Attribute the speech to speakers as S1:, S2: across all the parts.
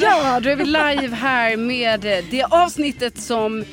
S1: Ja, då är vi live här med det avsnittet som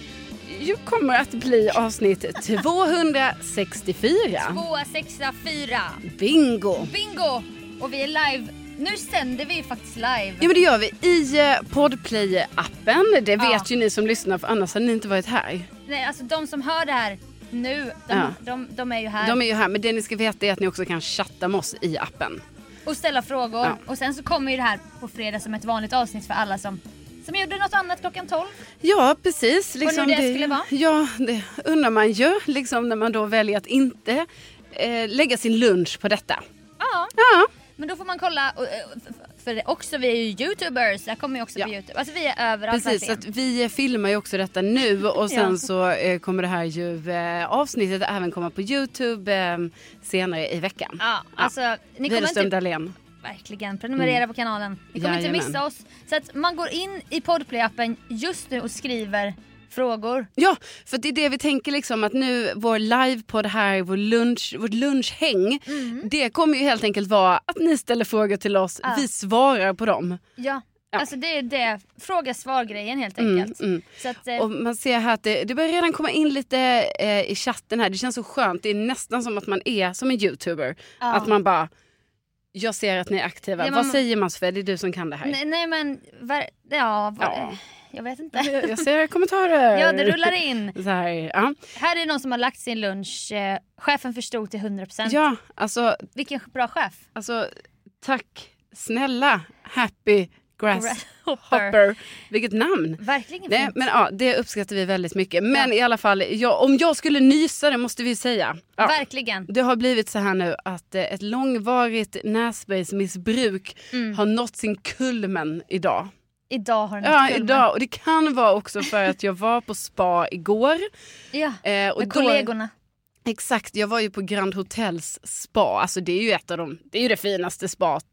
S1: ju kommer att bli avsnitt 264.
S2: Tvåa, sexa, fyra.
S1: Bingo!
S2: Bingo! Och vi är live. Nu sänder vi ju faktiskt live.
S1: Ja men det gör vi i eh, Podplay-appen. Det vet
S2: Ja.
S1: ju ni som lyssnar för annars hade ni inte varit här.
S2: Nej, alltså de som hör det här nu, de,
S1: Ja.
S2: de, de är ju här.
S1: De är ju här men det ni ska veta är att ni också kan chatta med oss i appen.
S2: Och ställa frågor.
S1: Ja.
S2: Och sen så kommer ju det här på fredag som ett vanligt avsnitt för alla som, som gjorde något annat klockan 12.
S1: Ja precis. Liksom
S2: nu det skulle vara?
S1: Ja det undrar man ju liksom när man då väljer att inte eh, lägga sin lunch på detta.
S2: Ja,
S1: Ja.
S2: men då får man kolla. Och, eh, f- För också vi är ju youtubers, jag kommer ju också
S1: Ja.
S2: på youtube. Alltså vi är överallt
S1: Precis, så
S2: verkligen.
S1: att vi eh, filmar ju också detta nu och sen
S2: Ja.
S1: så eh, kommer det här ju eh, avsnittet även komma på Youtube eh, senare i veckan.
S2: Ja, alltså ni kommer
S1: Widerström
S2: inte
S1: Dahlén.
S2: Verkligen, prenumerera på kanalen. Ni kommer
S1: Mm. Jajamän.
S2: inte missa oss. Så att man går in i Podplay-appen just nu och skriver frågor.
S1: Ja, för det är det vi tänker liksom att nu vår livepodd här, vår lunch, vårt lunchhäng, det kommer ju helt enkelt vara att ni ställer frågor till oss,
S2: Mm. Ja.
S1: vi svarar på dem.
S2: Ja.
S1: Ja.
S2: Alltså det är det, fråga-svar-grejen helt
S1: Mm,
S2: enkelt.
S1: mm.
S2: Så att, eh,
S1: Och man ser här att det, det börjar redan komma in lite eh, i chatten här, det känns så skönt, det är nästan som att man är som en youtuber.
S2: ja.
S1: Att man bara, jag ser att ni är aktiva.
S2: Ja, men
S1: Vad
S2: man-
S1: säger man Sofia? Det är du som kan det här.
S2: nej, nej men, ver- ja, var,
S1: Ja.
S2: eh, jag vet inte.
S1: Jag ser kommentarer.
S2: Ja, det rullar in.
S1: Så här, ja.
S2: Här är någon som har lagt sin lunch. Eh, chefen förstod till 100%.
S1: ja, alltså,
S2: Vilken bra chef.
S1: alltså tack snälla Happy Grass
S2: Hopper.
S1: Hopper. Vilket namn.
S2: Verkligen
S1: Nej,
S2: fint.
S1: men ja, det uppskattar vi väldigt mycket. Men
S2: Ja.
S1: i alla fall, ja, om jag skulle nysa det måste vi säga. Ja.
S2: Verkligen.
S1: Det har blivit så här nu att eh, ett långvarigt nässpejsmissbruk
S2: Mm.
S1: har nått sin kulmen idag.
S2: Idag har den
S1: Ja,
S2: nått kulmen.
S1: idag. Och det kan vara också för att jag var på spa igår.
S2: Ja,
S1: Eh, och
S2: med
S1: då-
S2: kollegorna.
S1: Exakt, jag var ju på Grand Hotels spa. Alltså det är ju ett av de, det är ju det finaste spat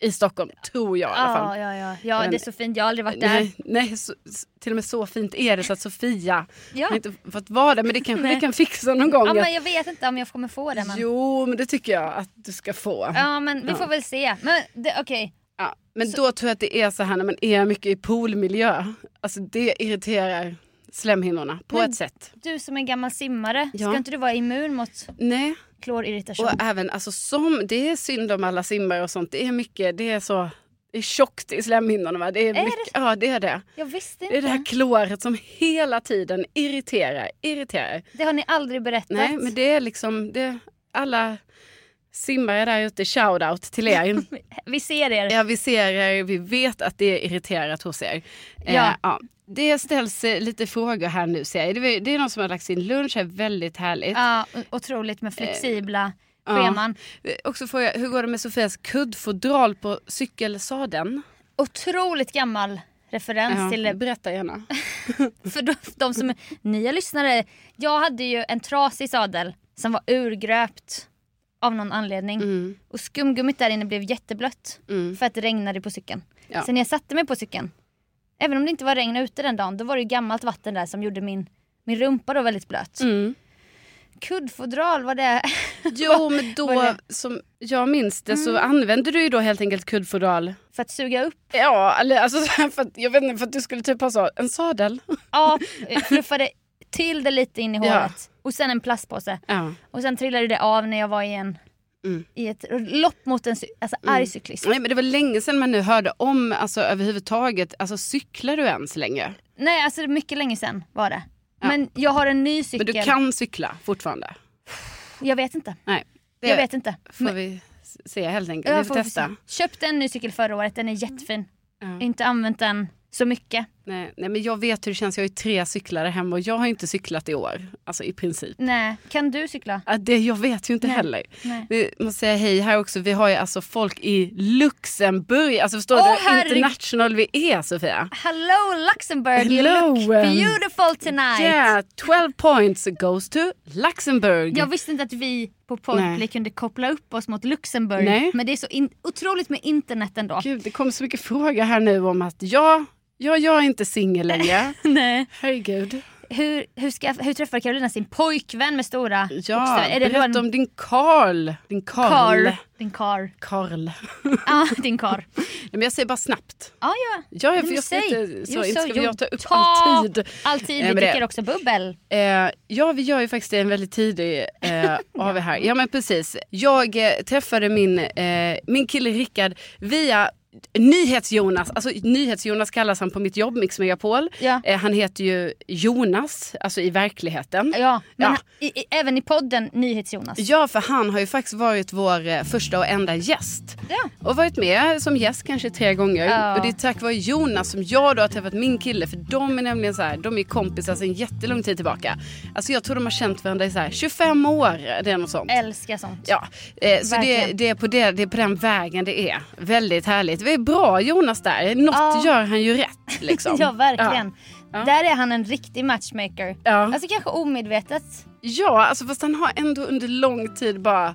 S1: i Stockholm, tror jag i alla fall.
S2: Ja, ja, ja. ja,
S1: Men-
S2: det är så fint. Jag har aldrig varit där.
S1: Nej, nej så, s- till och med så fint är det så att Sofia
S2: Ja.
S1: har inte fått vara där men det kanske vi kan fixa någon gång.
S2: Ja,
S1: att-
S2: men jag vet inte om jag kommer få det. Men...
S1: Jo men det tycker jag att du ska få.
S2: Ja, men vi
S1: Ja.
S2: får väl se. Men det- okej,
S1: Ja, men då tror jag att det är så här när man är mycket i poolmiljö. Alltså det irriterar slemhinnorna på
S2: Men-
S1: ett sätt.
S2: du som är gammal simmare,
S1: Ja.
S2: ska inte du vara immun mot
S1: Nej,
S2: klorirritation?
S1: och även alltså som, det är synd om alla simmare och sånt. Det är mycket, det är så, det är tjockt i slemhinnorna va? Det är,
S2: det
S1: mycket, ja det är det.
S2: Jag visste inte.
S1: Det är det här kloret som hela tiden irriterar, irriterar.
S2: har ni aldrig berättat.
S1: Nej, men det är liksom, det, alla simmare där ute, shout-out till er.
S2: Vi ser er.
S1: ja, vi ser er, vi vet att det är irriterat hos er. Eh,
S2: Ja.
S1: ja. Det ställs eh, lite frågor här nu ser jag. Det, var- det är någon som har lagt sin lunch här, väldigt härligt.
S2: Ja, o- otroligt med flexibla
S1: ja.
S2: scheman.
S1: Eh, Också fråga, hur går det med Sofias kuddfodral på cykelsadeln?
S2: Otroligt gammal referens till det.
S1: Berätta gärna.
S2: För de, de som är nya lyssnare. Jag hade ju en trasig sadel som var urgröpt av någon anledning.
S1: Mm,
S2: Och skumgummit där inne blev jätteblött.
S1: mm.
S2: För att det regnade på cykeln.
S1: Ja.
S2: Så när jag satte mig på cykeln, även om det inte var regn ute den dagen, då var det ju gammalt vatten där som gjorde min, min rumpa då väldigt blöt.
S1: Mm.
S2: Kuddfodral var det.
S1: Jo men
S2: vad är
S1: då,
S2: det?
S1: som jag minns det så använde du ju då helt enkelt kuddfodral
S2: för att suga upp.
S1: Ja, eller alltså så här för att, jag vet inte, för att du skulle typ ha så, en sadel.
S2: Ja, eh, fluffade till det lite in i hålet.
S1: Ja.
S2: Och sen en plastpåse.
S1: Ja.
S2: Och sen trillade det av när jag var i, en,
S1: Mm.
S2: i ett lopp mot en cy- alltså, arg cyklist.
S1: Nej men det var länge sedan man nu hörde om, alltså överhuvudtaget, alltså cyklar du ens längre?
S2: Nej, alltså det är mycket länge sedan var det.
S1: Ja.
S2: Men jag har en ny
S1: Men
S2: cykel.
S1: du kan cykla fortfarande?
S2: Jag vet inte.
S1: Nej. Det
S2: Jag vet inte.
S1: får
S2: Men-
S1: vi s- se helt enkelt,
S2: Ja,
S1: vi får,
S2: får vi
S1: testa.
S2: se. Köpte en ny cykel förra året, den är jättefin.
S1: Ja. Mm.
S2: Inte använt den så mycket.
S1: Nej, nej men jag vet hur det känns, jag har ju tre cyklar där hemma och jag har ju inte cyklat i år. Alltså i princip.
S2: Nej, kan du cykla?
S1: Ja, Det, jag vet ju inte
S2: Nej.
S1: heller.
S2: Nej.
S1: Vi måste säga hej här också, vi har ju alltså folk i Luxemburg. Alltså förstår
S2: Åh,
S1: du hur
S2: herregud.
S1: international vi är Sofia?
S2: Hello Luxembourg,
S1: Hello,
S2: you look
S1: um,
S2: beautiful tonight!
S1: Yeah, 12 points goes to Luxemburg.
S2: Jag visste inte att vi på
S1: Nej.
S2: Podplay kunde koppla upp oss mot Luxemburg.
S1: Nej.
S2: Men det är så in- otroligt med internet ändå.
S1: Gud, det kom så mycket frågor här nu om att ja, ja jag är inte singel längre.
S2: Nej.
S1: Herregud.
S2: hur, hur, ska, hur träffar Carolina sin pojkvän med stora
S1: Ja,
S2: bokstäver? Är det då
S1: berätta
S2: en
S1: om din Karl. Din Karl.
S2: karl? Din karl.
S1: Karl.
S2: Ja, din karl.
S1: Nej, Men jag säger bara snabbt.
S2: Ja, ja.
S1: Ja, jag,
S2: Men
S1: för jag ska
S2: säg.
S1: inte, så,
S2: Jo,
S1: inte
S2: så-
S1: ska
S2: jo,
S1: jag ta upp
S2: ta-
S1: all tid.
S2: Alltid,
S1: Nej, men
S2: vi
S1: det-
S2: dricker också bubbel.
S1: Eh, ja, vi gör ju faktiskt en väldigt tidig eh, av det här. Ja, men precis. Jag eh, träffade min, eh, min kille Rickard via Nyhets-Jonas. Alltså Nyhets-Jonas kallas han på mitt jobb, Mix Megapol.
S2: Ja.
S1: Eh, han heter ju Jonas, alltså i verkligheten.
S2: Ja, men
S1: Ja.
S2: I, i, även i podden NyhetsJonas.
S1: Ja, för han har ju faktiskt varit vår eh, första och enda gäst.
S2: Ja.
S1: Och varit med som gäst kanske tre gånger.
S2: Ja.
S1: Och det är tack vare Jonas som jag då har träffat min kille. För de är nämligen så här, de är kompisar sedan jättelång tid tillbaka. Alltså jag tror de har känt varandra i så här 25 år. Det är något sånt.
S2: Älskar sånt.
S1: Ja, eh, så det,
S2: Verkligen.
S1: det, är på det, det är på den vägen det är. Väldigt härligt. Det är bra Jonas där. Något
S2: Ja.
S1: gör han ju rätt. Liksom.
S2: Ja, verkligen.
S1: Ja.
S2: Där är han en riktig matchmaker.
S1: Ja. Ja.
S2: Alltså kanske omedvetet.
S1: ja, alltså fast han har ändå under lång tid bara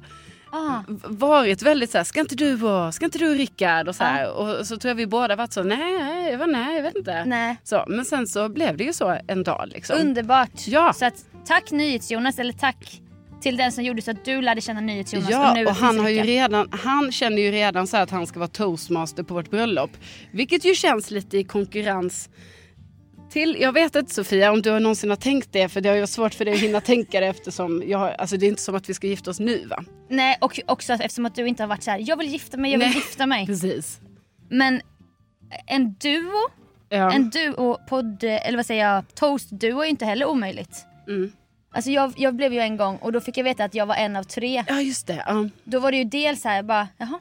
S2: Ah.
S1: varit väldigt så här, ska inte du och, ska inte du och Rickard och så här. Och så tror jag vi båda varit så, nej, jag, var, nej, jag vet inte.
S2: Nej.
S1: Så, men sen så blev det ju så en dag liksom.
S2: Underbart.
S1: Ja.
S2: Så att, tack NyhetsJonas, eller tack till den som gjorde så att du lärde känna NyhetsJonas.
S1: Ja,
S2: nu
S1: och han,
S2: finns
S1: har ju
S2: Rickard.
S1: redan, han känner ju redan så här att han ska vara toastmaster på vårt bröllop. Vilket ju känns lite i konkurrens till, jag vet inte Sofia om du har någonsin har tänkt det för det har ju varit svårt för dig att hinna tänka det eftersom jag har, alltså det är inte som att vi ska gifta oss nu va?
S2: Nej, och också att- eftersom att du inte har varit så här. jag vill gifta mig, jag vill
S1: Nej.
S2: gifta mig.
S1: Precis.
S2: Men en duo,
S1: Ja.
S2: en duo, podd, eller vad säger jag, toast-duo är ju inte heller omöjligt.
S1: Mm.
S2: Alltså jag, jag blev ju en gång och då fick jag veta att jag var en av tre.
S1: ja just det. Ja.
S2: Då var det ju dels så här, bara jaha,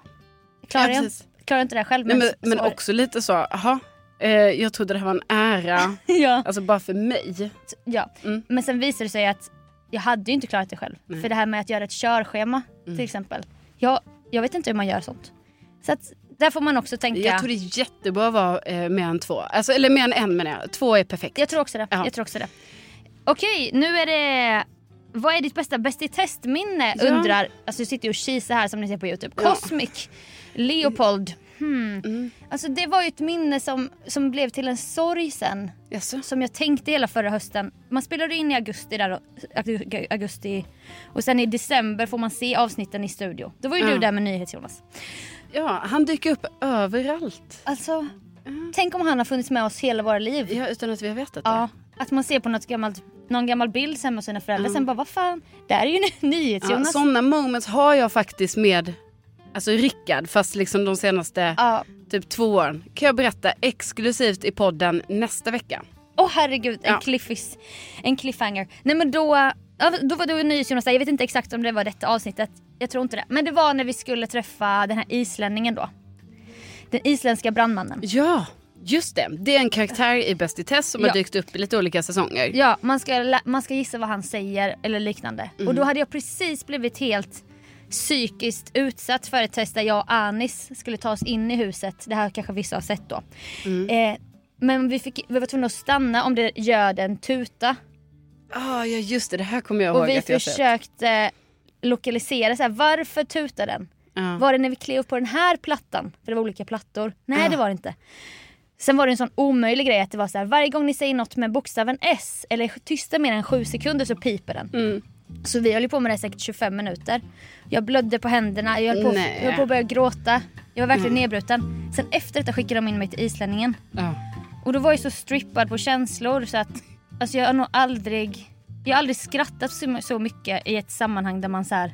S2: klarar
S1: Ja,
S2: jag
S1: precis.
S2: klarar jag inte det här själv.
S1: Nej, men,
S2: så-
S1: men
S2: så var det.
S1: också lite så, jaha, eh, jag trodde det här var en ära,
S2: ja,
S1: alltså bara för mig.
S2: ja.
S1: Mm.
S2: Men sen visade det sig att jag hade ju inte klarat det själv.
S1: Nej. Mm.
S2: För det här med att göra ett körschema till exempel. Jag, jag vet inte hur man gör sånt. Så att där får man också tänka.
S1: Jag tror det är jättebra att vara eh, med en två, alltså, eller med en en menar jag, två är perfekt.
S2: Jag tror också det.
S1: Ja.
S2: Jag tror också det. Okej, nu är det... Vad är ditt bästa Bäst i testminne?
S1: Ja.
S2: Undrar... Alltså du sitter ju och kisar här som ni ser på Youtube.
S1: Ja.
S2: Cosmic. Leopold. Hmm.
S1: Mm.
S2: Alltså det var ju ett minne som, som blev till en sorg sen.
S1: Jaså?
S2: Som jag tänkte hela förra hösten. Man spelade in i augusti där och, ag- augusti. Och sen i december får man se avsnitten i studio. Då var ju
S1: Ja.
S2: du där med nyhets Jonas.
S1: Ja, han dyker upp överallt.
S2: Alltså, tänk om han har funnits med oss hela våra liv.
S1: mm. Ja, utan att vi har vetat det.
S2: Ja, att man ser på något gammalt, någon gammal bild sen med sina föräldrar
S1: Ja.
S2: sen bara vad fan, där är ju ny-
S1: Mm. Ja,
S2: NyhetsJonas. Ja,
S1: sådana moments har jag faktiskt med alltså Rickard, fast liksom de senaste
S2: ja.
S1: typ två åren. Kan jag berätta exklusivt i podden nästa vecka.
S2: Åh herregud, en,
S1: Ja.
S2: cliffis, en cliffhanger. Nej men då, ja, då var du och NyhetsJonas där, jag vet inte exakt om det var detta avsnittet. Jag tror inte det. Men det var när vi skulle träffa den här islänningen då. Den isländska brandmannen.
S1: Ja, just det. Det är en karaktär i Bäst i test som
S2: Ja.
S1: har dykt upp i lite olika säsonger.
S2: Ja, man ska, lä- man ska gissa vad han säger eller liknande. Och då hade jag precis blivit helt psykiskt utsatt för ett test där jag och Anis skulle ta oss in i huset. Det här kanske vissa har sett då. Eh, men vi, fick, vi var tvungna att stanna om det gör en tuta.
S1: Ah, ja, just det. Det här kommer jag ihåg
S2: Och vi
S1: att jag har sett.
S2: försökte lokalisera så här, varför tutar den?
S1: Ja.
S2: Var det när vi klev upp på den här plattan? För det var olika plattor. Nej
S1: Ja.
S2: det var det inte. Sen var det en sån omöjlig grej att det var så här, varje gång ni säger något med bokstaven S eller är tysta mer än sju sekunder så piper den.
S1: Mm.
S2: Så vi höll ju på med det här säkert 25 minuter. Jag blödde på händerna, jag höll på,
S1: Nej.
S2: jag höll på att börja gråta. Jag var verkligen nedbruten. Sen efter detta skickade de in mig till islänningen.
S1: Ja.
S2: Och då var jag så strippad på känslor så att alltså jag har nog aldrig jag har aldrig skrattat så, så mycket i ett sammanhang där man så här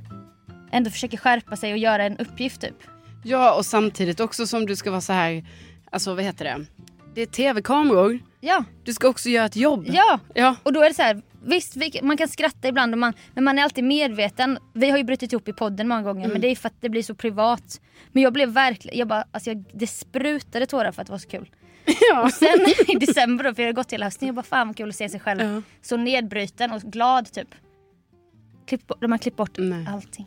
S2: ändå försöker skärpa sig och göra en uppgift typ.
S1: ja, och samtidigt också som du ska vara så här, alltså vad heter det? Det är tv-kameror.
S2: Ja,
S1: Du ska också göra ett jobb.
S2: ja.
S1: Ja.
S2: Och då är det så här, visst vi, man kan skratta ibland och man, men man är alltid medveten. Vi har ju brutit ihop i podden många gånger men det är för att det blir så privat. Men jag blev verkligen, jag bara, alltså jag, det sprutade tårar för att det var så kul.
S1: ja.
S2: Sen i december då, för jag hade gått hela hösten, jag bara fan vad kul att se sig själv
S1: Ja.
S2: så nedbruten och glad typ. Klipp, bort- de har klippt bort
S1: Nej.
S2: allting.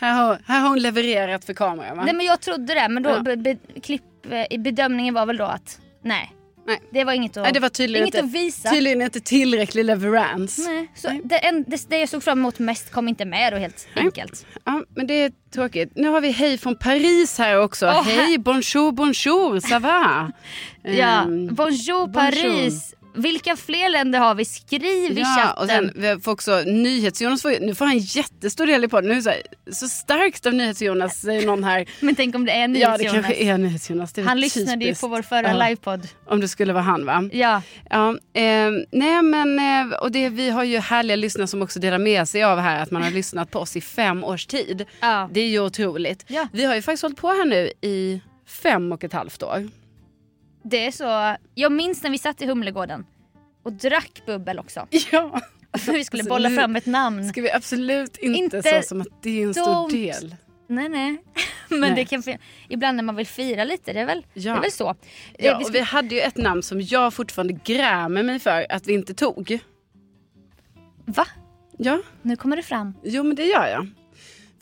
S1: Här, har, här har hon levererat för kameran va?
S2: Nej men jag trodde det men då
S1: Ja.
S2: be, be, klipp, eh, bedömningen var väl då att nej.
S1: Nej.
S2: Det var inget att,
S1: Nej, det var tydligen
S2: inget
S1: inte-
S2: att visa.
S1: Tydligen inte tillräcklig leverans.
S2: Nej, så Det, en, det, det jag såg fram emot mest kom inte med då helt
S1: Nej.
S2: enkelt.
S1: Ja, men det är tråkigt. Nu har vi hej från Paris här också.
S2: Åh,
S1: hej, bonjour, bonjour, ça va?
S2: Ja.
S1: Ehm,
S2: Bonjour Paris! Vilka fler länder har vi? Skriv i
S1: Ja,
S2: chatten.
S1: och sen vi får också NyhetsJonas, får, ju- nu får han en jättestor del i podden. Nu är det så, här, så starkt av NyhetsJonas säger någon här.
S2: Men tänk om det
S1: Ja
S2: är
S1: det
S2: NyhetsJonas.
S1: kanske är NyhetsJonas. Det är
S2: Han
S1: väl
S2: lyssnade ju
S1: typiskt.
S2: på vår förra
S1: Ja.
S2: livepodd.
S1: Om det skulle vara han va?
S2: Ja.
S1: Ja, eh, nej men eh, och det, vi har ju härliga lyssnare som också delar med sig av här att man har lyssnat på oss i fem års tid.
S2: ja.
S1: Det är ju otroligt.
S2: Ja.
S1: Vi har ju faktiskt hållit på här nu i fem och ett halvt år.
S2: Det är så. Jag minns när vi satt i Humlegården och drack bubbel också.
S1: Ja.
S2: För vi skulle
S1: Alltså,
S2: bolla
S1: nu-
S2: fram ett namn.
S1: Ska vi absolut inte,
S2: Inte
S1: så som att det är en stor
S2: dumt.
S1: del.
S2: Nej nej. Men det
S1: Nej.
S2: kan fin- ibland när man vill fira lite, det är väl,
S1: Ja.
S2: det är väl så. Det-
S1: Ja,
S2: vi
S1: och
S2: ska-
S1: vi hade ju ett namn som jag fortfarande grämer mig för att vi inte tog.
S2: Va?
S1: Ja,
S2: Nu kommer det fram.
S1: jo men det gör jag.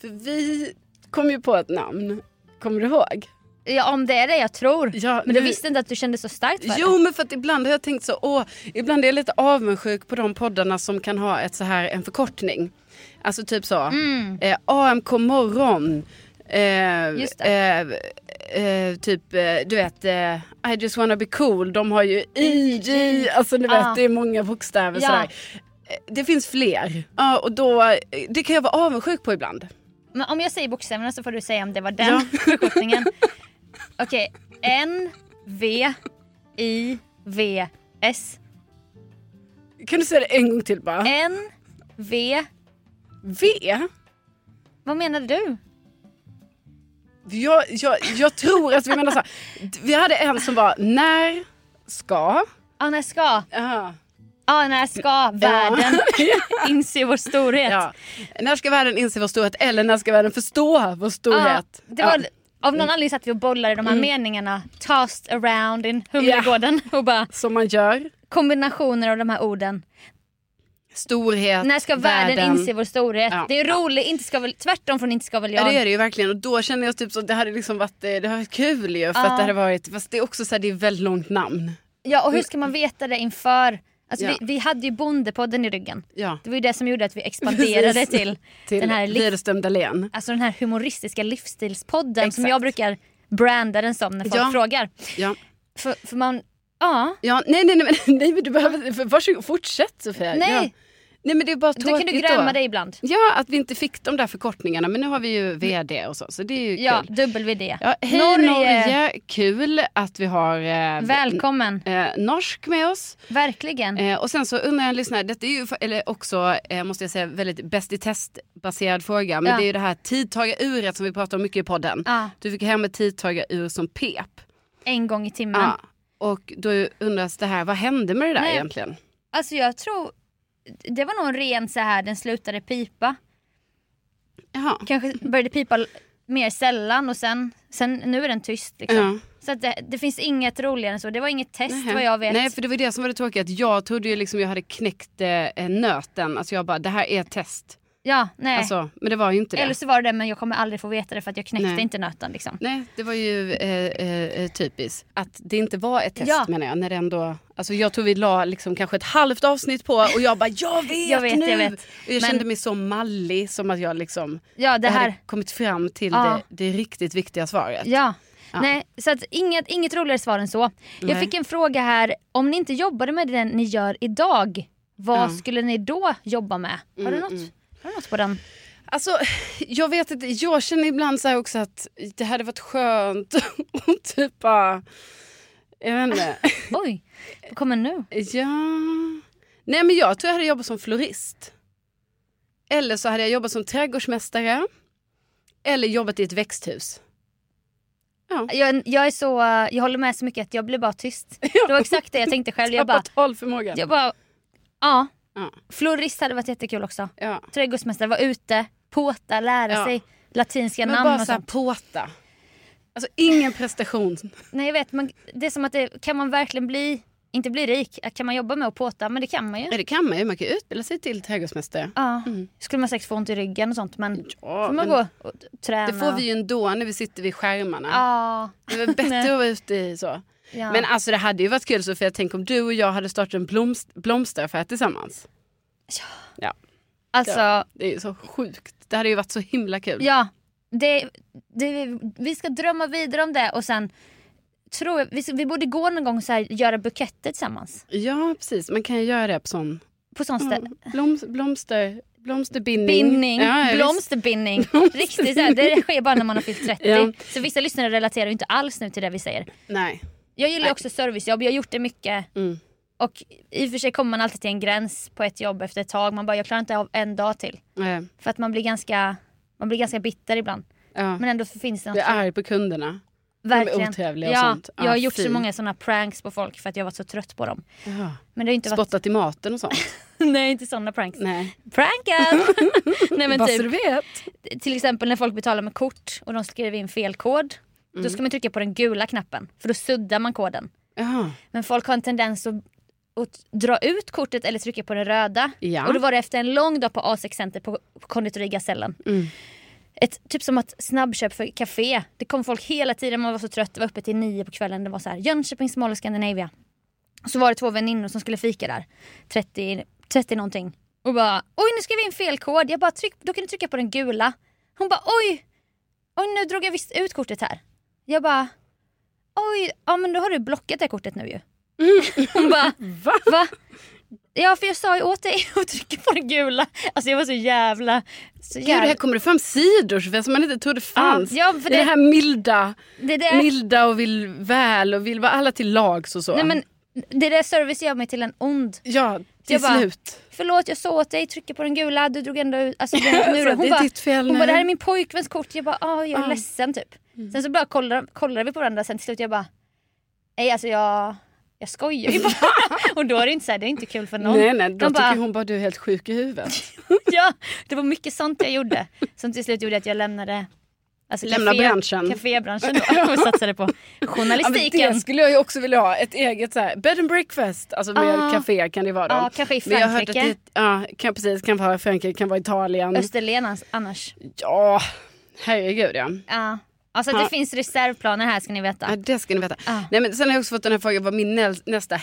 S1: För vi kom ju på ett namn. Kommer du ihåg?
S2: Ja om det är det jag tror.
S1: Ja,
S2: Men du
S1: nu-
S2: visste inte att du kände så starkt för
S1: Jo men för att ibland har jag tänkt så, åh, ibland är jag lite avundsjuk på de poddarna som kan ha ett så här, en förkortning. Alltså typ så,
S2: Mm.
S1: eh, AMK morgon. Eh,
S2: Just
S1: Eh, eh, typ, eh, du vet, eh, I just wanna be cool. De har ju IJ, alltså du vet
S2: Ah.
S1: det är många bokstäver
S2: Ja.
S1: sådär. Eh, Det finns fler. Ja, och då, eh, det kan jag vara avundsjuk på ibland.
S2: det. Men om jag säger bokstäverna så får du säga om det var den
S1: Ja.
S2: förkortningen. Okej, N, V, I, V, S.
S1: Kan du säga det en gång till bara?
S2: N, V,
S1: V?
S2: vad menade du?
S1: Jag, jag, jag tror att vi menar så här. Vi hade en som var när ska...
S2: Ja, när ska,
S1: Aha.
S2: ja, när ska världen inse vår storhet?
S1: Ja. När ska världen inse vår storhet eller när ska världen förstå vår
S2: Ja,
S1: storhet?
S2: det var,
S1: Ja. Mm.
S2: Av någon anledning satt vi och bollade de här meningarna tossed around in Humlegården och bara
S1: Som man gör.
S2: kombinationer av de här orden.
S1: Storhet,
S2: När ska världen, inse vår storhet?
S1: Ja.
S2: Det är roligt, inte ska väl, tvärtom från inte ska väl
S1: Ja
S2: jag.
S1: det är det ju verkligen och då känner jag typ så det hade liksom varit, eh, det hade varit kul ju för
S2: Ja.
S1: att det hade varit, fast det är också så här, det är väldigt långt namn.
S2: Ja, och hur ska man veta det inför? Alltså,
S1: Ja.
S2: vi, vi hade ju Bondepodden i ryggen.
S1: Ja.
S2: Det var ju det som gjorde att vi expanderade
S1: Precis.
S2: till,
S1: Till
S2: den här liv,
S1: Widerström Dahlén.
S2: alltså den här humoristiska livsstilspodden som
S1: Exakt.
S2: jag brukar branda den som när folk
S1: Ja.
S2: frågar.
S1: Ja.
S2: För, för man, ja,
S1: Ja, nej, nej, nej, men- nej men du behöver, för- varsågod, fortsätt Sofia.
S2: Nej.
S1: Ja. Nej men det är bara
S2: då kan du
S1: tråkigt
S2: gräma dig ibland.
S1: Ja, att vi inte fick de där förkortningarna. Men nu har vi ju VD och så, så det är ju
S2: Ja,
S1: kul.
S2: WD.
S1: Ja, hej Norge.
S2: Norge.
S1: Kul att vi har eh,
S2: Välkommen,
S1: eh, norsk med oss.
S2: verkligen.
S1: Eh, och sen så undrar jag en lyssnare, detta är ju fa- eller också eh, måste jag säga väldigt bäst i test baserad fråga. Men
S2: Ja.
S1: det är ju det här tidtagaruret som vi pratar om mycket i podden.
S2: Ja,
S1: Du fick hem ett tidtagarur som pep.
S2: en gång i timmen.
S1: Ja. Och då undras det här, vad hände med det där
S2: Nej.
S1: egentligen?
S2: Alltså jag tror, det var nog en ren så här den slutade pipa.
S1: Jaha.
S2: Kanske började pipa l- mer sällan och sen, sen nu är den tyst. Liksom.
S1: Ja.
S2: Så att det, det finns inget roligare än så. Det var inget test
S1: Nähä.
S2: vad jag vet.
S1: Nej för det var ju det som var det tråkiga. Att jag trodde ju liksom jag hade knäckt eh, nöten. Alltså jag bara det här är ett test.
S2: ja, nej.
S1: Alltså, men det var ju inte det.
S2: Eller så var det det men jag kommer aldrig få veta det för att jag knäckte
S1: Nej.
S2: inte nöten. Liksom.
S1: Nej det var ju eh, eh, eh, typiskt. Att det inte var ett test
S2: Ja.
S1: menar jag. När det ändå, alltså jag tror vi la liksom kanske ett halvt avsnitt på och jag bara jag vet,
S2: Jag vet,
S1: nu.
S2: jag vet.
S1: Och jag
S2: Men-
S1: kände mig så mallig som att jag liksom
S2: Ja, det
S1: jag
S2: här.
S1: hade kommit fram till
S2: Ja.
S1: det, det riktigt viktiga svaret.
S2: Ja.
S1: Ja.
S2: Nej, så att inget, inget roligare svar än så. Jag
S1: Nej.
S2: fick en fråga här, om ni inte jobbade med det ni gör idag, vad
S1: Ja. Mm,
S2: skulle ni då jobba med? Har du något, har du något på den?
S1: Alltså, jag vet inte. Jag känner ibland så här också att det hade varit skönt och typ bara... Jag vet inte.
S2: Oj, vad kommer nu?
S1: Ja... Nej, men jag tror jag hade jobbat som florist. Eller så hade jag jobbat som trädgårdsmästare. Eller jobbat i ett växthus.
S2: Jag, jag, är så, eh, jag håller med så mycket att jag blir bara tyst. Det var exakt det jag tänkte själv. Jag bara,
S1: Tappat talförmågan.
S2: jag bara ja.
S1: Ja.
S2: Florist hade varit jättekul också.
S1: Ja.
S2: Trädgårdsmästare, vara ute, påta, lära
S1: Ja.
S2: sig latinska
S1: Men
S2: namn
S1: bara
S2: och
S1: så här
S2: sånt.
S1: påta. Alltså ingen prestation.
S2: Nej jag vet, man, det är som att det, kan man verkligen bli, inte bli rik, kan man jobba med att påta? Men det kan man ju.
S1: Nej, det kan man ju. Man kan ju utbilda sig till trädgårdsmästare.
S2: Ja, skulle man säkert få ont i ryggen och sånt men
S1: Ja,
S2: får
S1: men
S2: man gå och t- träna.
S1: det får vi ju ändå när vi sitter vid skärmarna.
S2: Ja,
S1: Det är väl bättre att vara ute i så.
S2: ja.
S1: Men alltså det hade ju varit kul Sofia, tänk om du och jag hade startat en blomst blomsteraffär tillsammans.
S2: alltså,
S1: Det är ju så sjukt. Det hade ju varit så himla kul.
S2: ja. Det, det, vi ska drömma vidare om det och sen tror jag, vi, vi borde gå någon gång så här göra buketter tillsammans.
S1: Ja, precis. Man kan ju göra det på sån
S2: På sånt
S1: ja,
S2: ställe.
S1: bloms, blomster, blomsterbindning.
S2: Bindning,
S1: Mm. Ja, ja, visst.
S2: blomsterbindning. Riktigt så här, det sker bara när man har fyllt 30.
S1: Ja.
S2: Så vissa lyssnare relaterar ju inte alls nu till det vi säger.
S1: Nej.
S2: Jag gillar ju också servicejobb, jag har gjort det mycket.
S1: Mm.
S2: Och i och för sig kommer man alltid till en gräns på ett jobb efter ett tag. Man bara, jag klarar inte av en dag till.
S1: Eh,
S2: För att man blir ganska, man blir ganska bitter ibland.
S1: ja.
S2: Men ändå finns det något.
S1: Jag är arg på kunderna.
S2: verkligen.
S1: otrevliga och
S2: ja,
S1: sånt.
S2: Jag
S1: Ja,
S2: har gjort
S1: fy.
S2: så många sådana pranks på folk för att jag har varit så trött på dem.
S1: Ja.
S2: Men det har ju inte varit...
S1: Spottat i maten och sånt.
S2: Nej, inte sådana pranks.
S1: Nej.
S2: Prankad! Nej men
S1: Bara
S2: typ.
S1: så du vet.
S2: till exempel när folk betalar med kort och de skriver in fel kod.
S1: Mm.
S2: Då ska man trycka på den gula knappen för då suddar man koden.
S1: Jaha.
S2: Men folk har en tendens att, att dra ut kortet eller trycka på den röda.
S1: Ja.
S2: Och då var det efter en lång dag på A6 Center på konditori Gasellen.
S1: Mm.
S2: Ett, typ som att snabbköp för café. Det kom folk hela tiden, man var så trött, det var uppe till nio på kvällen. Det var så här Jönköpings Mall och Scandinavia. Så var det två väninnor som skulle fika där. 30, 30 någonting. Och bara oj nu skrev vi in fel kod. Jag bara tryck, då kan du trycka på den gula. Hon bara oj. Oj nu drog jag visst ut kortet här. Jag bara oj ja men då har du blockat det här kortet nu ju. Hon bara
S1: Mm. Va?
S2: Va? Ja för jag sa ju åt dig att trycka på den gula. Alltså jag var så jävla... Så
S1: Gud,
S2: jävla...
S1: här kommer det fram sidor som man inte trodde fanns.
S2: Ja, för
S1: det, är
S2: det-
S1: det här milda,
S2: det, där,
S1: milda och vill väl och vill vara alla till lags och så.
S2: nej, men, det där service gör mig till en ond.
S1: Ja, till
S2: Jag bara-
S1: slut.
S2: Förlåt jag sa åt dig trycka på den gula, du drog ändå ut... Alltså, det, nu,
S1: Så det
S2: hon
S1: Mm. är
S2: bara,
S1: ditt fel
S2: hon
S1: nu.
S2: bara det här är min pojkväns kort. Jag bara ah, jag är
S1: Ja.
S2: ledsen typ. Sen så bara kollar, kollar vi på varandra sen till slut jag bara nej alltså jag, jag skojar ju bara. Och då är det inte så här, det är inte kul för någon.
S1: Nej, nej, då
S2: De bara-
S1: tycker hon bara du är helt sjuk i huvudet.
S2: Ja, det var mycket sånt jag gjorde. Som till slut gjorde att jag lämnade alltså
S1: Lämna
S2: kafé-
S1: branschen.
S2: Kafébranschen då, och satsade på
S1: Ja, men
S2: journalistiken.
S1: det skulle jag ju också vilja ha, ett eget så här, bed and breakfast, alltså med
S2: Ah.
S1: café kan det vara. då.
S2: Ja, kanske i
S1: Men jag har hört att
S2: Frankrike.
S1: det, ja, kan, precis, kan vara Frankrike, kan vara Italien.
S2: Österlen ans- annars.
S1: Ja, herregud ja.
S2: Ja. Alltså att det
S1: Ja.
S2: finns reservplaner här ska ni veta.
S1: Ja, det ska ni veta.
S2: Ah.
S1: Nej, men sen har jag också fått den här frågan vad min nä- nästa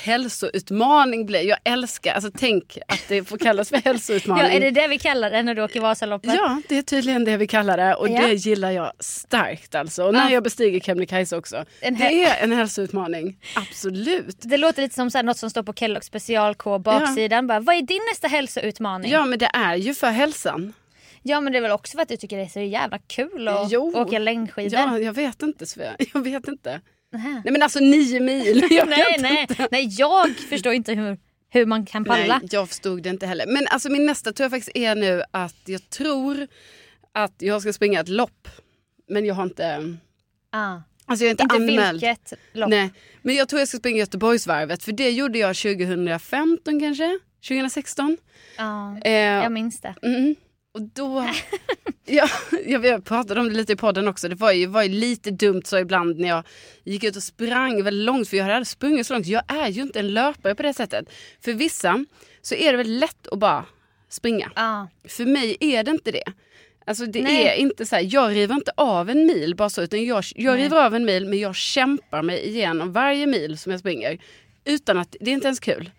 S1: hälsoutmaning blir. Jag älskar, alltså tänk att det får kallas för hälsoutmaning.
S2: Ja, är det det vi kallar det när du åker Vasaloppet?
S1: Ja, det är tydligen det vi kallar det och
S2: Ja.
S1: det gillar jag starkt alltså. Och när
S2: Ah.
S1: jag bestiger Kebnekaise också.
S2: En hä-
S1: det är en hälsoutmaning, absolut.
S2: Det låter lite som så här, något som står på Kelloggs special K baksidan. Bara, vad är din nästa hälsoutmaning?
S1: Ja, men det är ju för hälsan.
S2: Ja, men det är väl också för att du tycker det är så jävla kul att
S1: Jo.
S2: åka längdskidor.
S1: Ja, jag vet inte Svea. Jag vet inte.
S2: Nähä.
S1: Nej men alltså nio mil. Jag
S2: Nej,
S1: vet
S2: nej,
S1: Inte.
S2: nej, jag förstår inte hur, hur man kan palla.
S1: Nej, jag förstod det inte heller. Men alltså min nästa tror jag faktiskt är nu att jag tror att jag ska springa ett lopp. Men jag har inte,
S2: Ah.
S1: alltså jag är inte,
S2: Inte
S1: anmäld.
S2: vilket lopp.
S1: Nej, men jag tror jag ska springa Göteborgsvarvet för det gjorde jag 2015 kanske? 2016?
S2: Ja,
S1: Eh,
S2: jag minns det.
S1: Mm. Och då... ja, jag, jag pratade om det lite i podden också. Det var ju, var ju lite dumt så ibland när jag gick ut och sprang väldigt långt. För jag hade aldrig sprungit så långt. Jag är ju inte en löpare på det sättet. För vissa så är det väl lätt att bara springa.
S2: Ja.
S1: För mig är det inte det. Alltså det
S2: Nej.
S1: är inte så här, jag river inte av en mil bara så. Utan jag, jag
S2: Nej.
S1: river av en mil men jag kämpar mig igenom varje mil som jag springer. Utan att, det är inte ens kul.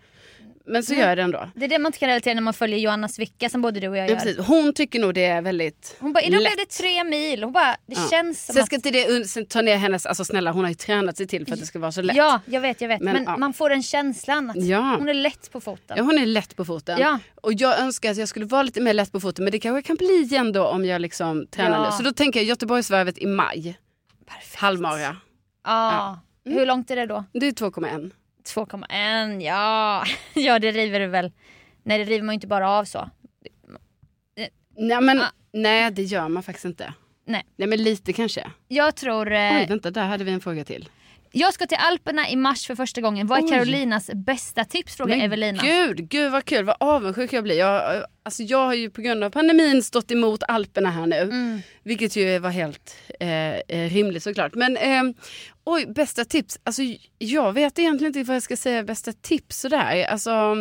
S1: Men så gör jag det ändå.
S2: Det är det man inte kan relatera när man följer Johanna Svicka som både du och jag
S1: Ja,
S2: gör.
S1: precis. Hon tycker nog det är väldigt
S2: Hon bara, idag blev
S1: lätt.
S2: det tre mil. Hon bara, det
S1: Ja.
S2: känns som
S1: Sen
S2: att...
S1: ska inte det un- sen ta ner hennes, alltså snälla hon har ju tränat sig till för att det ska vara så lätt.
S2: Ja, jag vet, jag vet. Men,
S1: Men, ja.
S2: man får den känslan att
S1: Ja.
S2: hon är lätt på foten.
S1: Ja, hon är lätt på foten.
S2: Ja.
S1: Och jag önskar att jag skulle vara lite mer lätt på foten men det kanske kan bli igen då om jag liksom tränar
S2: Ja.
S1: nu. Så då tänker jag Göteborgsvarvet i maj,
S2: Perfekt.
S1: halvmara.
S2: Ja. Mm. Hur långt är det då?
S1: Det är 2,1.
S2: 2,1, ja. Ja, det river du väl. Nej, det river man ju inte bara av så.
S1: Nej men
S2: Ah.
S1: nej det gör man faktiskt inte.
S2: Nej.
S1: Nej men lite kanske.
S2: Jag tror...
S1: Oj
S2: Eh,
S1: vänta där hade vi en fråga till.
S2: jag ska till Alperna i mars för första gången. Vad är
S1: Oj.
S2: Carolinas bästa tips? Frågar Evelina.
S1: gud, gud vad kul, vad avundsjuk jag blir. Jag, eh, alltså jag har ju på grund av pandemin stått emot Alperna här nu.
S2: Mm.
S1: Vilket ju var helt eh, eh, rimligt såklart. Men eh, oj, bästa tips. Alltså, jag vet egentligen inte vad jag ska säga bästa tips sådär. Alltså,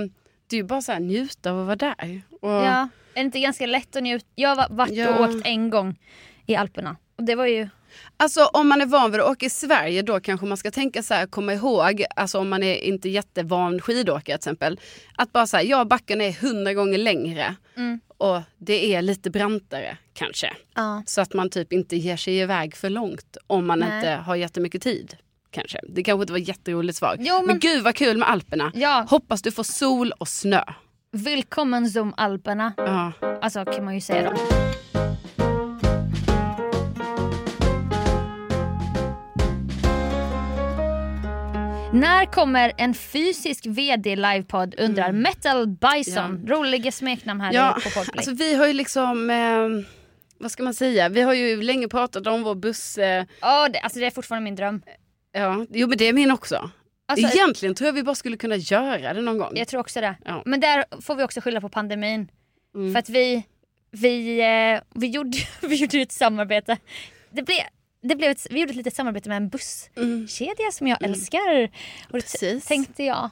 S1: det är ju bara så här, njuta av att vara där. Och,
S2: Ja, är det inte ganska lätt att njuta? Jag har varit
S1: Ja.
S2: och åkt en gång i Alperna. Och det var ju...
S1: Alltså om man är van vid att åka i Sverige då kanske man ska tänka så här, komma ihåg, alltså om man är inte jättevan skidåkare till exempel. Att bara säga, ja backen är hundra gånger längre
S2: Mm.
S1: och det är lite brantare kanske.
S2: Ja.
S1: Så att man typ inte ger sig iväg för långt om man
S2: Nej.
S1: inte har jättemycket tid. kanske. Det kanske inte var ett jätteroligt svar.
S2: Jo,
S1: men...
S2: men-
S1: gud vad kul med Alperna.
S2: Ja,
S1: Hoppas du får sol och snö.
S2: välkommen zum Alperna.
S1: Ja.
S2: Alltså kan man ju säga då. När kommer en fysisk VD livepodd undrar Metal Bison. Roliga smeknamn här
S1: Mm. Ja,
S2: på Podplay.
S1: Alltså vi har ju liksom, eh, vad ska man säga, vi har ju länge pratat om vår buss. Eh,
S2: Ja, det, alltså det är fortfarande min dröm.
S1: ja, jo men det är min också.
S2: Alltså,
S1: Egentligen tror jag vi bara skulle kunna göra det någon gång.
S2: Jag tror också det.
S1: Ja.
S2: Men där får vi också skylla på pandemin.
S1: Mm.
S2: För att vi, vi, eh, vi, gjorde, vi gjorde ju ett samarbete. Det blev, det blev ett, vi gjorde ett litet samarbete med en
S1: Mm.
S2: busskedja som jag älskar. Och då t-
S1: Precis.
S2: tänkte jag,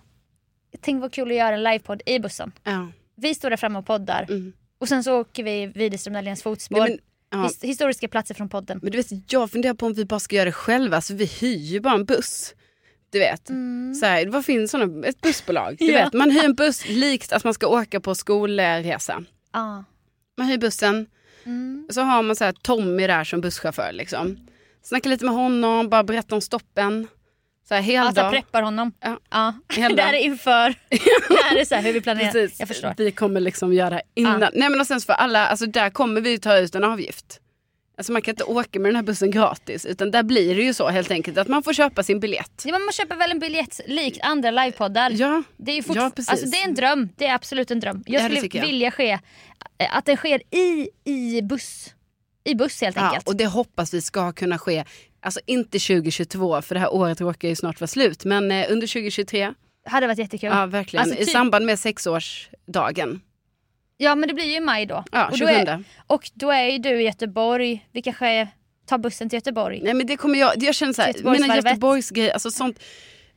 S2: tänk vad kul att göra en livepodd i bussen.
S1: Ja.
S2: Vi står där framme och poddar
S1: Mm.
S2: och sen så åker vi Widerström Dahléns fotspår.
S1: Nej, men, ja.
S2: His- historiska platser från podden.
S1: men du vet, jag funderar på om vi bara ska göra det själva, så vi hyr ju bara en buss. Du vet, så här, vad finns sådana, ett bussbolag. Du
S2: Ja.
S1: vet, man hyr en buss likt att man ska åka på skolresa.
S2: Ja.
S1: Man hyr bussen,
S2: Ah. Mm.
S1: så har man så här Tommy där som busschaufför liksom. Snacka lite med honom, bara berätta om stoppen. Så här hela
S2: Alltså
S1: dagen.
S2: preppar honom.
S1: Ja.
S2: Ja.
S1: Hela
S2: det här är inför. det här är så här hur vi planerar.
S1: Precis.
S2: Jag förstår. Ah.
S1: Vi kommer liksom göra innan.
S2: Ja.
S1: Nej men och sen så för alla, alltså där kommer vi ju ta ut en avgift. Alltså man kan inte åka med den här bussen gratis utan där blir det ju så helt enkelt att man får köpa sin biljett.
S2: Ja, men man köper väl en biljett likt andra livepoddar.
S1: Ja,
S2: Det är ju fort...
S1: Ja, precis.
S2: alltså, det är en dröm. Det är absolut en dröm.
S1: Ja,
S2: Jag
S1: det
S2: skulle
S1: tycker jag.
S2: vilja ske, eh, att den sker i, i buss. I buss helt
S1: ja
S2: enkelt.
S1: och det hoppas vi ska kunna ske. Alltså inte 2022 för det här året råkar ju snart vara slut men eh, under 2023,
S2: hade varit jättekul.
S1: ja verkligen.
S2: Alltså,
S1: I
S2: typ-
S1: samband med sexårsdagen.
S2: Ja men det blir ju i maj då.
S1: Ja,
S2: och,
S1: 20.
S2: då är, och då är ju du i Göteborg. Vi kanske tar bussen till Göteborg.
S1: Nej men det kommer jag, jag känner så här, mina
S2: Göteborgsvarvet.
S1: Göteborgsgrejer, alltså sånt.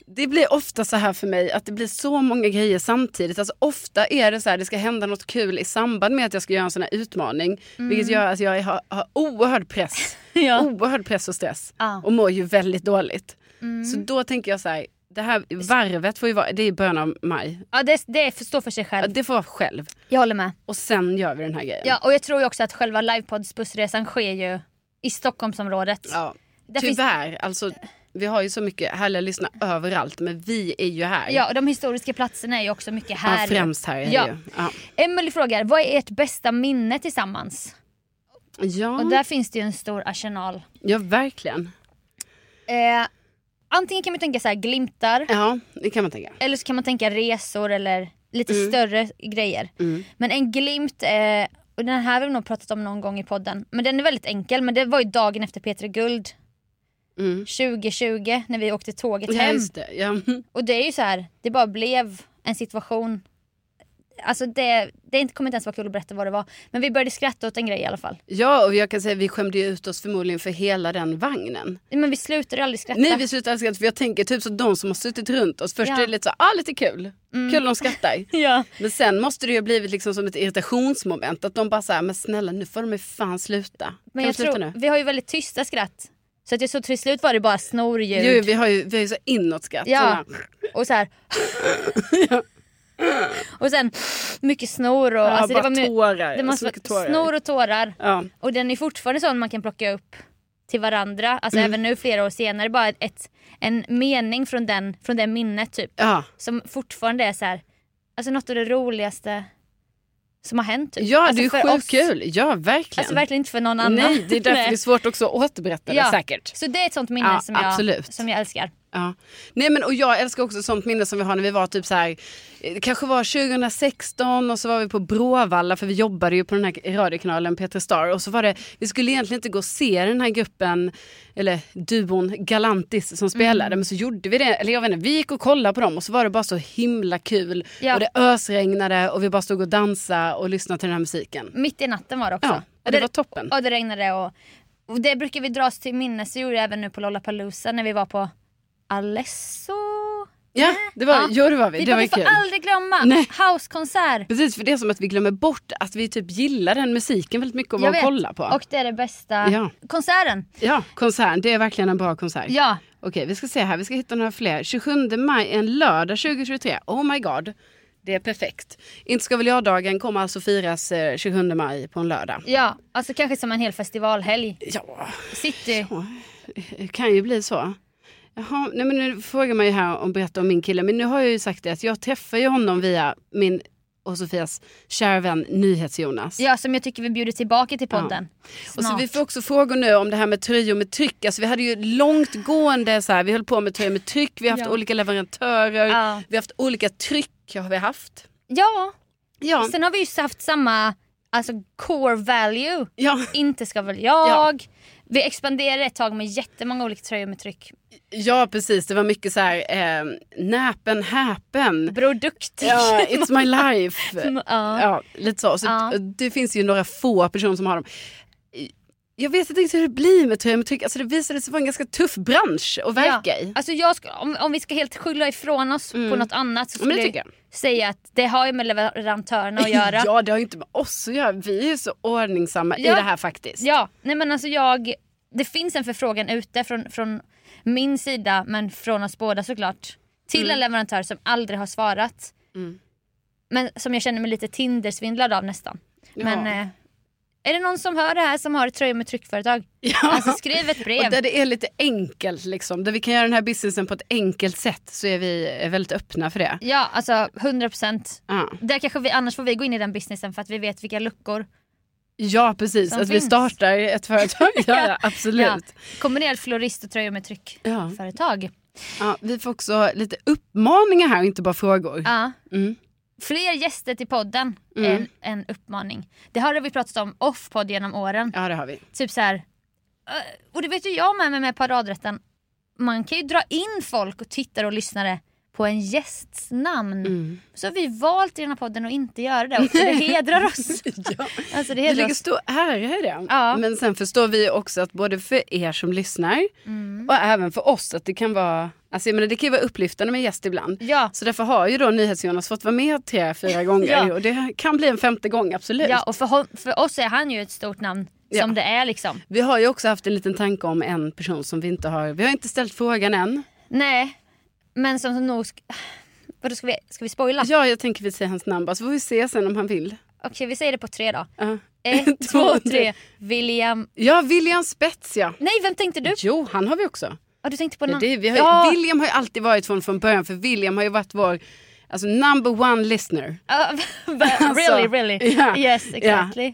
S1: Det blir ofta så här för mig att det blir så många grejer samtidigt. Alltså ofta är det så här, det ska hända något kul i samband med att jag ska göra en sån här utmaning. Vilket gör att jag har, har oerhörd press.
S2: Mm. Ja.
S1: Oerhörd press och stress.
S2: Oh. Ja. Mm.
S1: Och mår ju väldigt dåligt. Så då tänker jag så här, det här varvet får ju vara, det är i början av maj.
S2: Ja, det, det får stå för sig
S1: Ja,
S2: själv.
S1: Det får vara själv.
S2: Jag håller med.
S1: Och sen gör vi den här grejen.
S2: Ja, och jag tror ju också att själva livepoddsbussresan sker ju i Stockholmsområdet.
S1: Ja.
S2: Där finns-
S1: Tyvärr, alltså vi har ju så mycket härliga lyssnare överallt men vi är ju här.
S2: Ja, och de historiska platserna är ju också mycket här.
S1: Ja, främst här är
S2: Ja.
S1: det ju. Ja.
S2: Emily frågar, vad är ert bästa minne tillsammans? Och
S1: Ja,
S2: där finns det ju en stor arsenal.
S1: ja, verkligen.
S2: Eh, antingen kan man tänka så här glimtar,
S1: Ja, det kan man tänka.
S2: eller så kan man tänka resor eller lite större grejer.
S1: Mm.
S2: Men en glimt, eh, och den här har vi nog pratat om någon gång i podden, men den är väldigt enkel. Men det var ju dagen efter P3 Guld
S1: Mm.
S2: 2020 när vi åkte tåget
S1: Ja,
S2: hem.
S1: just det. Ja.
S2: Och det är ju så här, det bara blev en situation. Alltså det, det är inte- kommer inte ens vara kul att berätta vad det var. Men vi började skratta åt en grej i alla fall.
S1: ja, och jag kan säga att vi skämde ju ut oss förmodligen för hela den vagnen.
S2: Men vi slutade aldrig skratta.
S1: Nej, vi slutade skratta för jag tänker typ så de som har suttit runt oss. Först
S2: Ja. Mm.
S1: är det lite så, ah lite kul. Kul de skrattar.
S2: Ja.
S1: Men sen måste det ju ha blivit liksom som ett irritationsmoment. Att de bara såhär, men snälla nu får de ju fan sluta. kan
S2: Men jag
S1: de sluta
S2: tror,
S1: nu?
S2: vi har ju väldigt tysta skratt. Så att jag så till slut var det bara
S1: Jo,
S2: snorljud.
S1: vi har ju, vi har ju så inåtskratt.
S2: Ja.
S1: sådana.
S2: Och så här. och sen mycket snor och... alltså,
S1: ja, bara
S2: my-
S1: tårar.
S2: det
S1: Det så
S2: måste
S1: mycket tårar.
S2: Snor och tårar.
S1: Ja.
S2: Och den är fortfarande sån man kan plocka upp till varandra. Alltså
S1: Mm.
S2: även nu flera år senare. Bara ett, en mening från, den, från det minnet typ.
S1: Ja.
S2: Som fortfarande är så här, alltså något av det roligaste som har hänt. Typ.
S1: ja,
S2: alltså,
S1: det är ju
S2: för
S1: sjukt
S2: oss.
S1: kul. Ja, verkligen.
S2: Alltså verkligen inte för någon annan.
S1: Nej, det är därför
S2: Nej.
S1: det är svårt också att återberätta det
S2: Ja.
S1: säkert.
S2: Så det är ett sånt minne
S1: Ja,
S2: som, jag,
S1: absolut.
S2: som jag älskar.
S1: Ja. Nej, men, och jag älskar också sånt minne som vi har när vi var typ så här, eh, det kanske var 2016 och så var vi på Bråvalla för vi jobbade ju på den här radiokanalen Peter Star och så var det, vi skulle egentligen inte gå och se den här gruppen, eller duon Galantis som spelade, Mm. men så gjorde vi det, eller jag vet inte, vi gick och kollade på dem och så var det bara så himla kul
S2: Ja.
S1: och det ösregnade och vi bara stod och dansade och lyssnade till den här musiken.
S2: Mitt i natten var det också.
S1: Ja,
S2: Och
S1: det var toppen.
S2: Och det regnade och, och det brukar vi dra oss till minnes. Det gjorde jag även nu på Lollapalooza när vi var på Alesso.
S1: Ja, det var,
S2: Ja.
S1: Jo, det var vi.
S2: Vi
S1: det
S2: bara,
S1: var
S2: vi
S1: ju
S2: får
S1: kul.
S2: aldrig glömma
S1: Nej.
S2: housekonsert.
S1: Precis, för det är som att vi glömmer bort att vi typ gillar den musiken väldigt mycket och
S2: Jag
S1: vad
S2: vet.
S1: kolla på.
S2: Och det är det bästa.
S1: Ja.
S2: Konserten.
S1: Ja, konsert. Det är verkligen en bra konsert.
S2: Ja.
S1: Okej, vi ska se här. Vi ska hitta några fler. 27 maj, en lördag 2023. Oh my god. Det är perfekt. Inte ska väl jag-dagen kommer alltså firas eh, 27 maj på en lördag.
S2: ja, alltså kanske som en hel festivalhelg.
S1: Ja,
S2: City.
S1: det kan ju Eh, bli så. Jaha, nej men nu frågar man ju här om berätta om min kille. Men nu har jag ju sagt det att jag träffar ju honom via min och Sofias kära vän NyhetsJonas.
S2: Ja, som jag tycker vi bjuder tillbaka till podden.
S1: Och så
S2: Snart.
S1: Alltså, vi får också frågor nu om det här med tröjor med tryck. Alltså vi hade ju långtgående så här, vi höll på med tröjor med tryck, vi har haft
S2: Ja.
S1: olika leverantörer,
S2: Ja.
S1: vi har haft olika tryck har vi haft.
S2: ja,
S1: Ja,
S2: sen har vi ju haft samma alltså, core value.
S1: ja,
S2: Inte ska väl jag. Vi expanderade ett tag med jättemånga olika tröjor med tryck.
S1: ja precis, det var mycket så här eh, näpen häpen.
S2: Produkt.
S1: Ja, it's my life.
S2: Ja.
S1: Ja, lite så. så
S2: Ja.
S1: Det finns ju några få personer som har dem. Jag vet inte riktigt hur det blir med tröjor med tryck. Alltså det visade sig vara en ganska tuff bransch att verka i.
S2: Alltså jag ska, om, om vi ska helt skylla ifrån oss på något annat så
S1: Ja, Mm. Men
S2: skulle
S1: det
S2: jag,
S1: tycker jag.
S2: säga att det har ju med leverantörerna att göra.
S1: Ja, det har ju inte med oss att göra. Vi är ju så ordningsamma i
S2: Ja.
S1: det här faktiskt.
S2: Ja, nej men alltså jag, det finns en förfrågan ute från, från min sida men från oss båda såklart. Till en leverantör som aldrig har svarat.
S1: Mm.
S2: Men som jag känner mig lite Tindersvindlad av nästan.
S1: Ja.
S2: Men eh, är det någon som hör det här som har ett tröja med tryckföretag?
S1: Ja.
S2: Alltså skriv ett brev.
S1: och där det är lite enkelt, liksom, där vi kan göra den här businessen på ett enkelt sätt så är vi eh, väldigt öppna för det.
S2: Ja, alltså 100%.
S1: Ja,
S2: Där kanske vi, annars får vi gå in i den businessen för att vi vet vilka luckor.
S1: ja precis.
S2: Som
S1: Att vi
S2: finns.
S1: startar ett företag. ja, ja,
S2: Ja.
S1: absolut.
S2: Kombinerad florist och tröja med
S1: Ja.
S2: tryckföretag.
S1: Ja, vi får också lite uppmaningar här, inte bara frågor.
S2: Ja.
S1: Mm.
S2: Fler gäster till podden
S1: Mm.
S2: är en, en uppmaning. Det har vi pratat om off-podd genom åren.
S1: Ja, det har vi.
S2: Typ så här, eh, och det vet ju jag med mig med paradrätten. Man kan ju dra in folk och tittare och lyssnare på en gästs namn.
S1: Mm.
S2: Så har vi valt i den här podden att inte göra det. Och det hedrar oss.
S1: Ja.
S2: Alltså
S1: Det
S2: det hedrar
S1: ligger
S2: oss.
S1: stor ära i det.
S2: Ja.
S1: Men sen förstår vi också att både för er som lyssnar
S2: Mm.
S1: och även för oss att det kan vara, alltså jag menar, det kan ju vara upplyftande med gäst ibland.
S2: Ja.
S1: Så därför har ju då NyhetsJonas fått vara med tre, fyra gånger
S2: Ja.
S1: och det kan bli en femte gång absolut.
S2: ja, och för, hon, för oss är han ju ett stort namn.
S1: Ja.
S2: Som det är liksom.
S1: Vi har ju också haft en liten tanke om en person som vi inte har, vi har inte ställt frågan än.
S2: Nej, men som nog... sk- Vadå, ska vi, ska vi spoila?
S1: Ja, jag tänker vi säger hans namn bara så får vi se sen om han vill.
S2: Okej, vi säger det på tre då.
S1: Ja.
S2: Ett, två, tre. William...
S1: Ja, William Spets ja.
S2: Nej, vem tänkte du?
S1: Jo, han har vi också.
S2: Ja, du tänkte på
S1: Det,
S2: någon...
S1: det, vi har, ju-
S2: ja,
S1: William har ju alltid varit från, från början för William har ju varit vår alltså, number one listener.
S2: ja, really, really.
S1: ja,
S2: Yes,
S1: ja.
S2: exactly.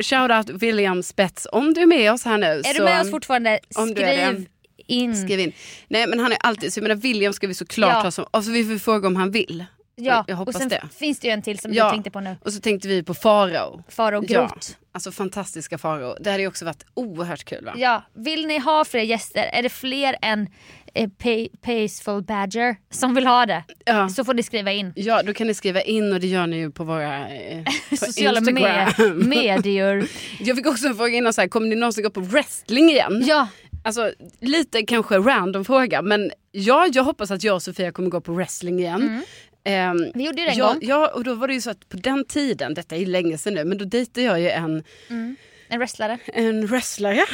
S1: Shout out William Spets om du är med oss här nu.
S2: Är du med oss fortfarande?
S1: om du är
S2: Skriv in.
S1: Skriv in. Nej men han är alltid, så jag menar William ska vi såklart
S2: Ja.
S1: ha som, och så vi får fråga om han vill.
S2: Ja,
S1: Jag hoppas
S2: och sen
S1: det.
S2: finns det ju en till som
S1: Ja.
S2: du tänkte på nu.
S1: Och så tänkte vi på Farao.
S2: Faro
S1: Ja.
S2: Groth.
S1: Alltså fantastiska Farao. Det hade ju också varit oerhört kul va?
S2: Ja. Vill ni ha fler gäster? Är det fler än eh, pay, Paceful Badger som vill ha det?
S1: Ja.
S2: Så får ni skriva in.
S1: Ja, då kan ni skriva in och det gör ni ju på våra eh, på
S2: Sociala
S1: Instagram.
S2: med, medier.
S1: Jag fick också en fråga innan så här, kommer ni någonsin gå på wrestling igen?
S2: Ja,
S1: Alltså lite kanske random fråga men ja, jag hoppas att jag och Sofia kommer gå på wrestling igen. Ehm,
S2: Mm. vi gjorde ju det en
S1: ja,
S2: gång.
S1: ja, och då var det ju så att på den tiden, detta är ju länge sedan nu, men då dejtade jag ju en,
S2: En wrestlare.
S1: en wrestlare.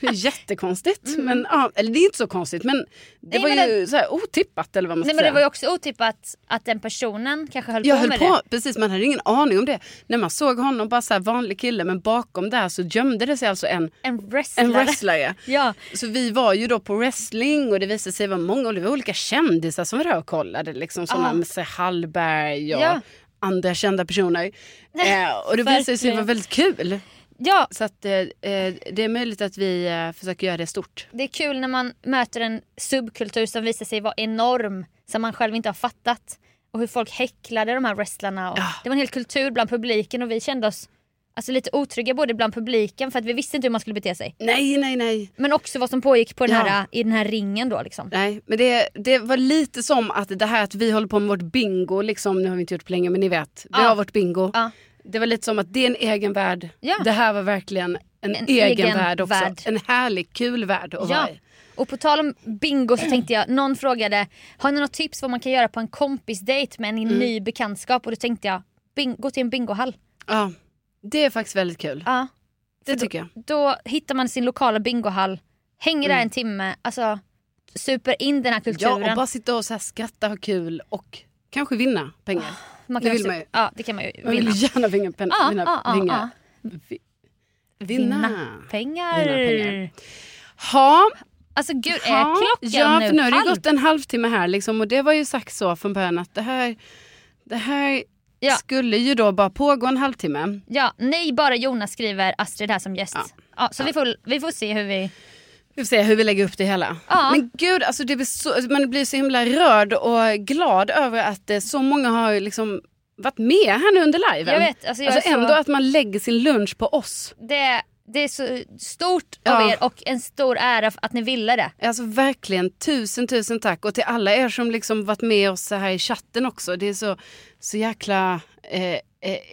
S1: Det är Jättekonstigt. Men, ja, eller det är inte så konstigt men det
S2: Mm. Nej,
S1: var
S2: men
S1: ju så här otippat eller vad man ska
S2: Nej men det
S1: säga.
S2: var ju också otippat att den personen kanske höll
S1: jag
S2: på
S1: höll
S2: med
S1: på, precis man hade ingen aning om det. När man såg honom, bara så här vanlig kille, men bakom där så gömde det sig alltså en,
S2: det. En wrestlare.
S1: en wrestlare.
S2: Ja.
S1: Så vi var ju då på wrestling och det visade sig vara många och det var olika kändisar som var där och kollade. Liksom sådana
S2: Ah.
S1: med sig Hallberg och
S2: Ja.
S1: andra kända personer. Eh, och det visade sig
S2: Verkligen.
S1: vara väldigt kul.
S2: ja,
S1: Så att, eh, eh, det är möjligt att vi eh, försöker göra det stort.
S2: det är kul när man möter en subkultur som visar sig vara enorm som man själv inte har fattat. Och hur folk häcklade de här wrestlarna. Och
S1: Ja.
S2: Det var en hel kultur bland publiken och vi kände oss alltså, lite otrygga både bland publiken för att vi visste inte hur man skulle bete sig.
S1: Nej, nej, nej.
S2: Men också vad som pågick på den
S1: Ja.
S2: här, i den här ringen då liksom.
S1: Nej, men det, det var lite som att det här att vi håller på med vårt bingo, liksom, nu har vi inte gjort det på länge men ni vet, vi
S2: Ja.
S1: har vårt bingo.
S2: Ja.
S1: Det var lite som att det är en egen värld.
S2: Ah. Ja.
S1: Det här var verkligen en,
S2: En
S1: egen,
S2: egen
S1: värld också.
S2: värld.
S1: En härlig, kul värld att
S2: Ja.
S1: vara i.
S2: Och på tal om bingo så tänkte jag, någon frågade har ni något tips vad man kan göra på en kompisdejt med en ny
S1: Mm.
S2: bekantskap? Och då tänkte jag, bing- gå till en bingohall.
S1: Ja, det är faktiskt väldigt kul.
S2: Ja.
S1: Det tycker jag.
S2: Då hittar man sin lokala bingohall, hänger där en timme, alltså super in den här
S1: Mm. Ja,
S2: kulturen.
S1: och bara sitta och så här skratta, ha kul och kanske vinna pengar.
S2: man
S1: det
S2: kan
S1: vill
S2: också-
S1: man ju.
S2: Ja, det kan man ju
S1: Man vill
S2: Ah, vinna. Ah,
S1: gärna vinna pengar.
S2: Ja,
S1: vinna,
S2: ja, ja,
S1: vinga- vi- vinna.
S2: Vinna pengar.
S1: Vinna pengar. Ha,
S2: Alltså gud, är
S1: Ja,
S2: klockan
S1: ja,
S2: nu
S1: för nu har det ju
S2: halv?
S1: gått en halvtimme här liksom, och det var ju sagt så från början att det här, det här
S2: Ja.
S1: skulle ju då bara pågå en halvtimme.
S2: Ja, nej bara Jonas skriver Astrid här som gäst. Ja.
S1: Ja.
S2: så Vi, får, vi får se hur vi...
S1: Vi får se hur vi lägger upp det hela.
S2: Ja.
S1: Men gud, alltså det blir så, man blir så himla rörd och glad över att eh, så många har liksom varit med här nu under liven.
S2: Jag vet, alltså jag
S1: Alltså
S2: är
S1: ändå
S2: så,
S1: att man lägger sin lunch på oss.
S2: det, det är så stort av
S1: Ja.
S2: er och en stor ära för att ni ville det.
S1: Alltså verkligen tusen tusen tack och till alla er som liksom varit med oss så här i chatten också. Det är så, så jäkla eh, eh,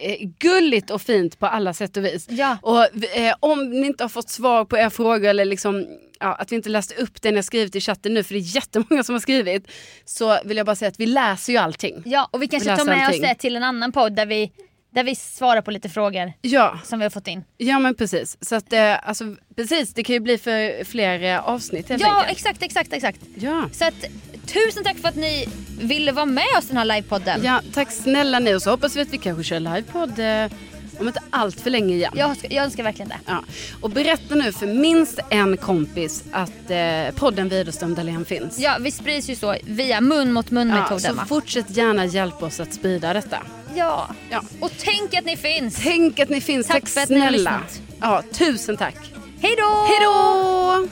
S1: eh, gulligt och fint på alla sätt och vis.
S2: Ja.
S1: Och eh, om ni inte har fått svar på era frågor eller liksom, ja, att vi inte läste upp det ni har skrivit i chatten nu för det är jättemånga som har skrivit. Så vill jag bara säga att vi läser ju allting.
S2: Ja, och vi kanske
S1: Läsa
S2: tar med oss
S1: allting.
S2: det till en annan podd där vi, där vi svarar på lite frågor
S1: Ja,
S2: som vi har fått in.
S1: ja men precis. Så att, eh, alltså, precis, det kan ju bli för fler eh, avsnitt helt
S2: Ja,
S1: enkelt.
S2: exakt, exakt, exakt.
S1: Ja.
S2: Så att, tusen tack för att ni ville vara med oss i den här livepodden.
S1: Ja, tack snälla ni och så hoppas vi att vi kanske kör livepodd eh, om inte allt för länge igen.
S2: Jag, önskar- jag önskar verkligen det.
S1: Ja. Och berätta nu för minst en kompis att eh, podden Widerström Dahlén finns.
S2: Ja, vi sprids ju så via mun mot
S1: Ja, så
S2: mun-metoden. va?
S1: fortsätt gärna hjälpa oss att sprida detta.
S2: ja.
S1: Ja.
S2: Och tänk att ni finns.
S1: Tänk att ni finns,
S2: Tack
S1: tack,
S2: för att ni har
S1: snälla.
S2: lyssnat.
S1: ja, tusen tack.
S2: Hej då!
S1: Hej då!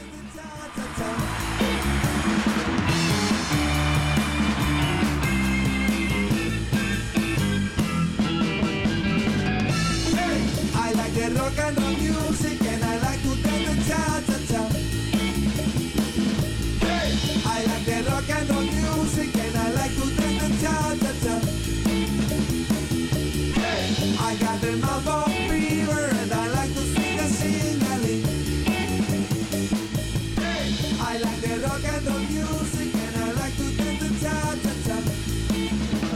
S3: I like the rock and roll music and I like to dance the cha cha cha. Hey! I like the rock and roll music and I like to dance the cha cha cha. Hey! I got the mouth of fever and I like to sing a singing. Hey! I like the rock and roll music and I like to dance the cha cha cha.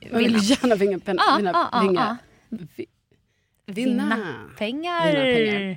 S1: Jag vill gärna vinga pen,
S2: Ja,
S1: mina
S2: ja, ja,
S1: vingar.
S2: ja.
S1: Vi-
S2: ah, Vinna
S1: Vinna.
S2: pengar.
S1: Vinna pengar.